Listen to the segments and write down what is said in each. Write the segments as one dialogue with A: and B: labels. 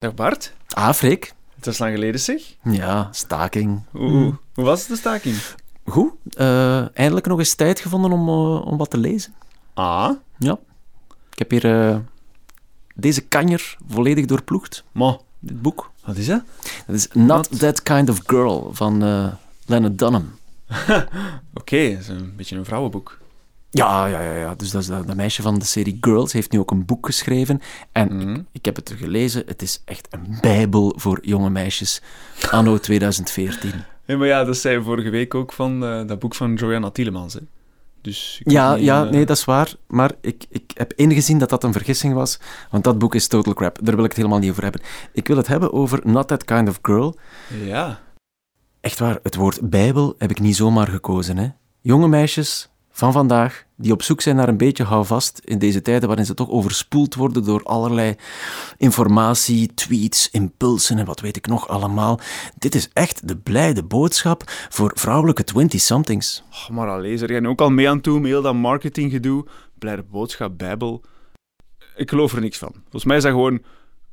A: Dag Bart,
B: Ah, Freek.
A: het is lang geleden zeg.
B: Ja, staking.
A: Oeh, hoe was de staking?
B: Goed. eh, eindelijk nog eens tijd gevonden om, eh, om wat te lezen.
A: Ah,
B: Ja. Ik heb hier eh, deze kanjer volledig doorploegd.
A: maar
B: Dit boek.
A: wat is dat?
B: Dat is Not, That Kind of Girl van eh Lena Dunham.
A: Oké, het is een beetje een vrouwenboek.
B: Ja, ja, ja, ja. Dus dat, is dat, dat meisje van de serie Girls heeft nu ook een boek geschreven. En
A: Hmm.
B: ik, ik heb het gelezen. Het is echt een bijbel voor jonge meisjes. Anno 2014.
A: Hé, maar ja, dat zei je vorige week ook van eh, dat boek van Joanna Tielemans. Hè? Dus ik
B: Ja,
A: weet niet,
B: ja,
A: eh,
B: nee, dat is waar. Maar ik, ik heb ingezien dat dat een vergissing was. Want dat boek is total crap. Daar wil ik het helemaal niet over hebben. Ik wil het hebben over Not That Kind of Girl.
A: Ja,
B: Echt waar, het woord Bijbel heb ik niet zomaar gekozen. Hè? Jonge meisjes van vandaag die op zoek zijn naar een beetje houvast in deze tijden waarin ze toch overspoeld worden door allerlei informatie, tweets, impulsen en wat weet ik nog allemaal. Dit is echt de blijde boodschap voor vrouwelijke 20-somethings.
A: oh, maar allee, er gaan ook al mee aan toe met heel dat marketinggedoe. Blijde boodschap, bijbel. Ik geloof er niks van. Volgens mij is dat gewoon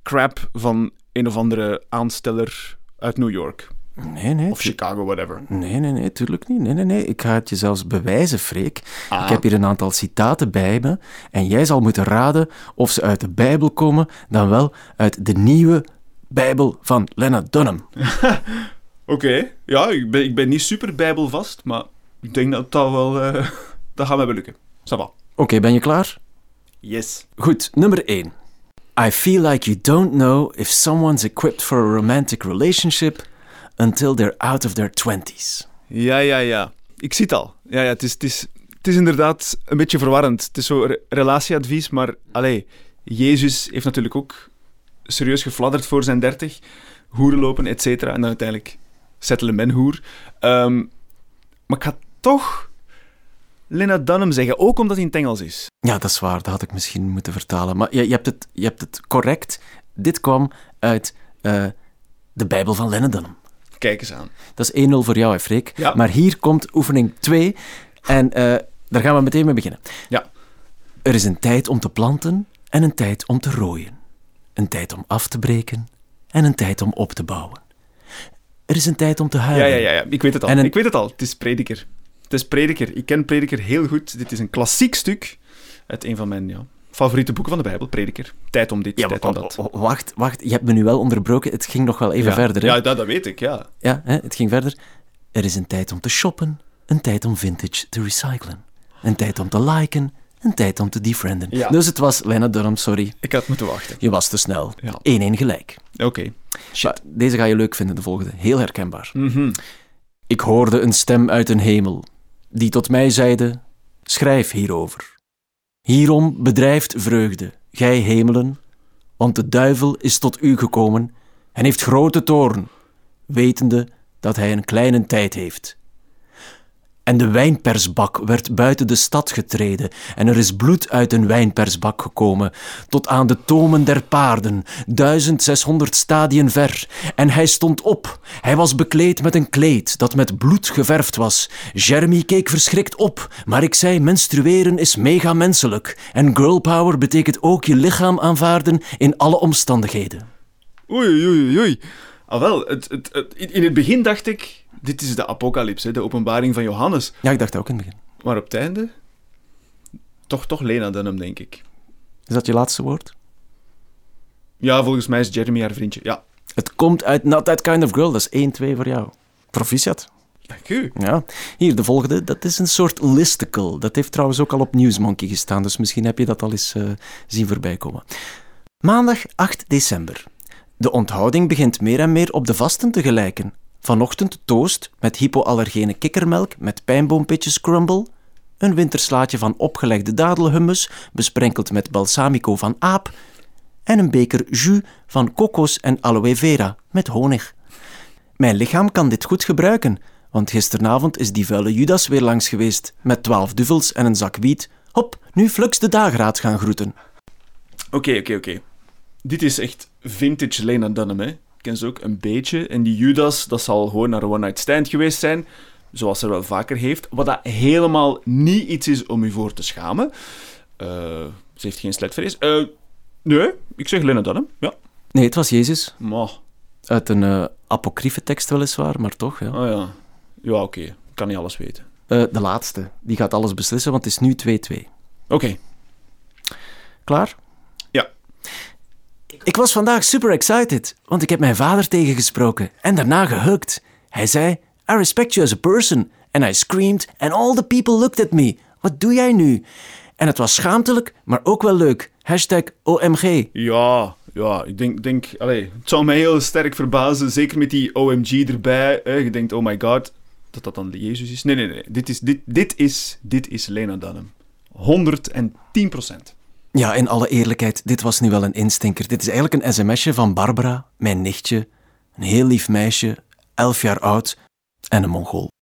A: crap van een of andere aansteller uit New York.
B: Nee, nee.
A: Of Chicago, whatever.
B: Nee, nee, nee, tuurlijk niet. Nee, nee, nee. Ik ga het je zelfs bewijzen, Freek.
A: Ah.
B: Ik heb hier een aantal citaten bij me. En jij zal moeten raden of ze uit de Bijbel komen, dan wel uit de nieuwe Bijbel van Lennart Dunham.
A: Oké, ja, ik ben, ik ben niet super bijbelvast, maar ik denk dat dat wel... eh dat gaat mij wel lukken. Sava.
B: Oké, ben je klaar?
A: Yes.
B: Goed, nummer 1. I feel like you don't know if someone's equipped for a romantic relationship until they're out of their twenties.
A: Ja, ja, ja. Ik zie het al. Ja, ja, het is, het is, het is inderdaad een beetje verwarrend. Het is zo re- relatieadvies, maar... Allee, Jezus heeft natuurlijk ook serieus gefladderd voor zijn dertig. Hoeren lopen, et cetera. En dan uiteindelijk settelen men hoer. Ehm, maar ik ga toch Lena Dunham zeggen, ook omdat hij in het Engels is.
B: Ja, dat is waar. Dat had ik misschien moeten vertalen. Maar je, je, hebt, het, je hebt het correct. Dit kwam uit eh, de Bijbel van Lennart Dunham.
A: Kijk eens aan.
B: Dat is 1-0 voor jou, hè, Freek.
A: Ja.
B: Maar hier komt oefening 2. En eh, daar gaan we meteen mee beginnen.
A: Ja.
B: Er is een tijd om te planten en een tijd om te rooien. Een tijd om af te breken en een tijd om op te bouwen. Er is een tijd om te
A: Ja,
B: huilen.
A: ja, ja, ja. ik weet het al.
B: En een-
A: Ik weet het al. Het is Prediker. Het is Prediker. Ik ken Prediker heel goed. Dit is een klassiek stuk uit een van mijn ja, favoriete boeken van de Bijbel, Prediker. Tijd om dit,
B: Ja,
A: tijd
B: wa-
A: om
B: wa-
A: dat.
B: wa- wacht, wacht. Je hebt me nu wel onderbroken. Het ging nog wel even
A: ja.
B: verder. Hè?
A: Ja, dat, dat weet ik, ja.
B: Ja, hè, het ging verder. Er is een tijd om te shoppen, een tijd om vintage te recyclen. Een tijd om te liken, een tijd om te defrienden.
A: Ja.
B: Dus het was Lena Durham, sorry.
A: Ik had moeten wachten.
B: Je was te snel. 1-1
A: Ja.
B: gelijk.
A: Oké.
B: Maar Deze ga je leuk vinden, de volgende. Heel herkenbaar.
A: Mhm.
B: Ik hoorde een stem uit een hemel, die tot mij zeide, schrijf hierover. Hierom bedrijft vreugde, gij hemelen, want de duivel is tot u gekomen en heeft grote toorn, wetende dat hij een kleine tijd heeft. En de wijnpersbak werd buiten de stad getreden, en er is bloed uit een wijnpersbak gekomen, tot aan de tomen der paarden, 1600 stadien ver. En hij stond op. Hij was bekleed met een kleed dat met bloed geverfd was. Jeremy keek verschrikt op, maar ik zei: menstrueren is mega menselijk. En girl power betekent ook je lichaam aanvaarden in alle omstandigheden.
A: Oei, oei, oei, oei. Al wel, het, het, het- in in het begin dacht ik, dit is de apocalypse, hè, de openbaring van Johannes.
B: Ja, ik dacht dat ook in het begin.
A: Maar op het einde, toch, toch Lena Dunham, denk ik.
B: Is dat je laatste woord?
A: Ja, volgens mij is Jeremy haar vriendje. Ja.
B: Het komt uit Not That Kind of Girl, dat is 1-2 voor jou. Proficiat.
A: Dank u.
B: Ja, hier de volgende. Dat is een soort listicle. Dat heeft trouwens ook al op Newsmonkey gestaan, dus misschien heb je dat al eens eh, zien voorbij komen. Maandag 8 december. De onthouding begint meer en meer op de vasten te gelijken. Vanochtend toast met hypoallergene kikkermelk met pijnboompitjes crumble. Een winterslaatje van opgelegde dadelhummus, besprenkeld met balsamico van aap. En een beker jus van kokos en aloe vera met honig. Mijn lichaam kan dit goed gebruiken, want gisteravond is die vuile Judas weer langs geweest, met twaalf duvels en een zak wiet. Hop, nu flux de dageraad gaan groeten.
A: Oké, oké, oké. Dit is echt vintage Lena Dunham, hè. Ik ken ze ook een beetje. En die Judas, dat zal gewoon naar een one-night stand geweest zijn. Zoals ze wel vaker heeft. Wat dat helemaal niet iets is om u voor te schamen. Eh, ze heeft geen sletvrees. Eh, nee, ik zeg Lena Dunham, ja.
B: Nee, het was Jezus.
A: Maar,
B: Uit een eh apocryfe tekst weliswaar, maar toch. Ja.
A: oh ja. Ja, oké. Ik kan niet alles weten.
B: Eh, de laatste. Die gaat alles beslissen, want het is nu 2-2.
A: Oké.
B: Klaar?
A: Ja.
B: Ik was vandaag super excited, want ik heb mijn vader tegengesproken en daarna gehukt. Hij zei, I respect you as a person. And I screamed and all the people looked at me. Wat doe jij nu? En het was schaamtelijk, maar ook wel leuk. Hashtag OMG.
A: Ja, ja, ik denk, denk allee, het zou mij heel sterk verbazen, zeker met die OMG erbij. Hè, je denkt, oh my god, dat dat dan Jezus is. Nee, nee, nee, dit is, dit, dit is, dit is Lena Dunham. 110 procent.
B: Ja, in alle eerlijkheid, dit was nu wel een instinker. Dit is eigenlijk een sms'je van Barbara, mijn nichtje. Een heel lief meisje, elf jaar oud en een mongool.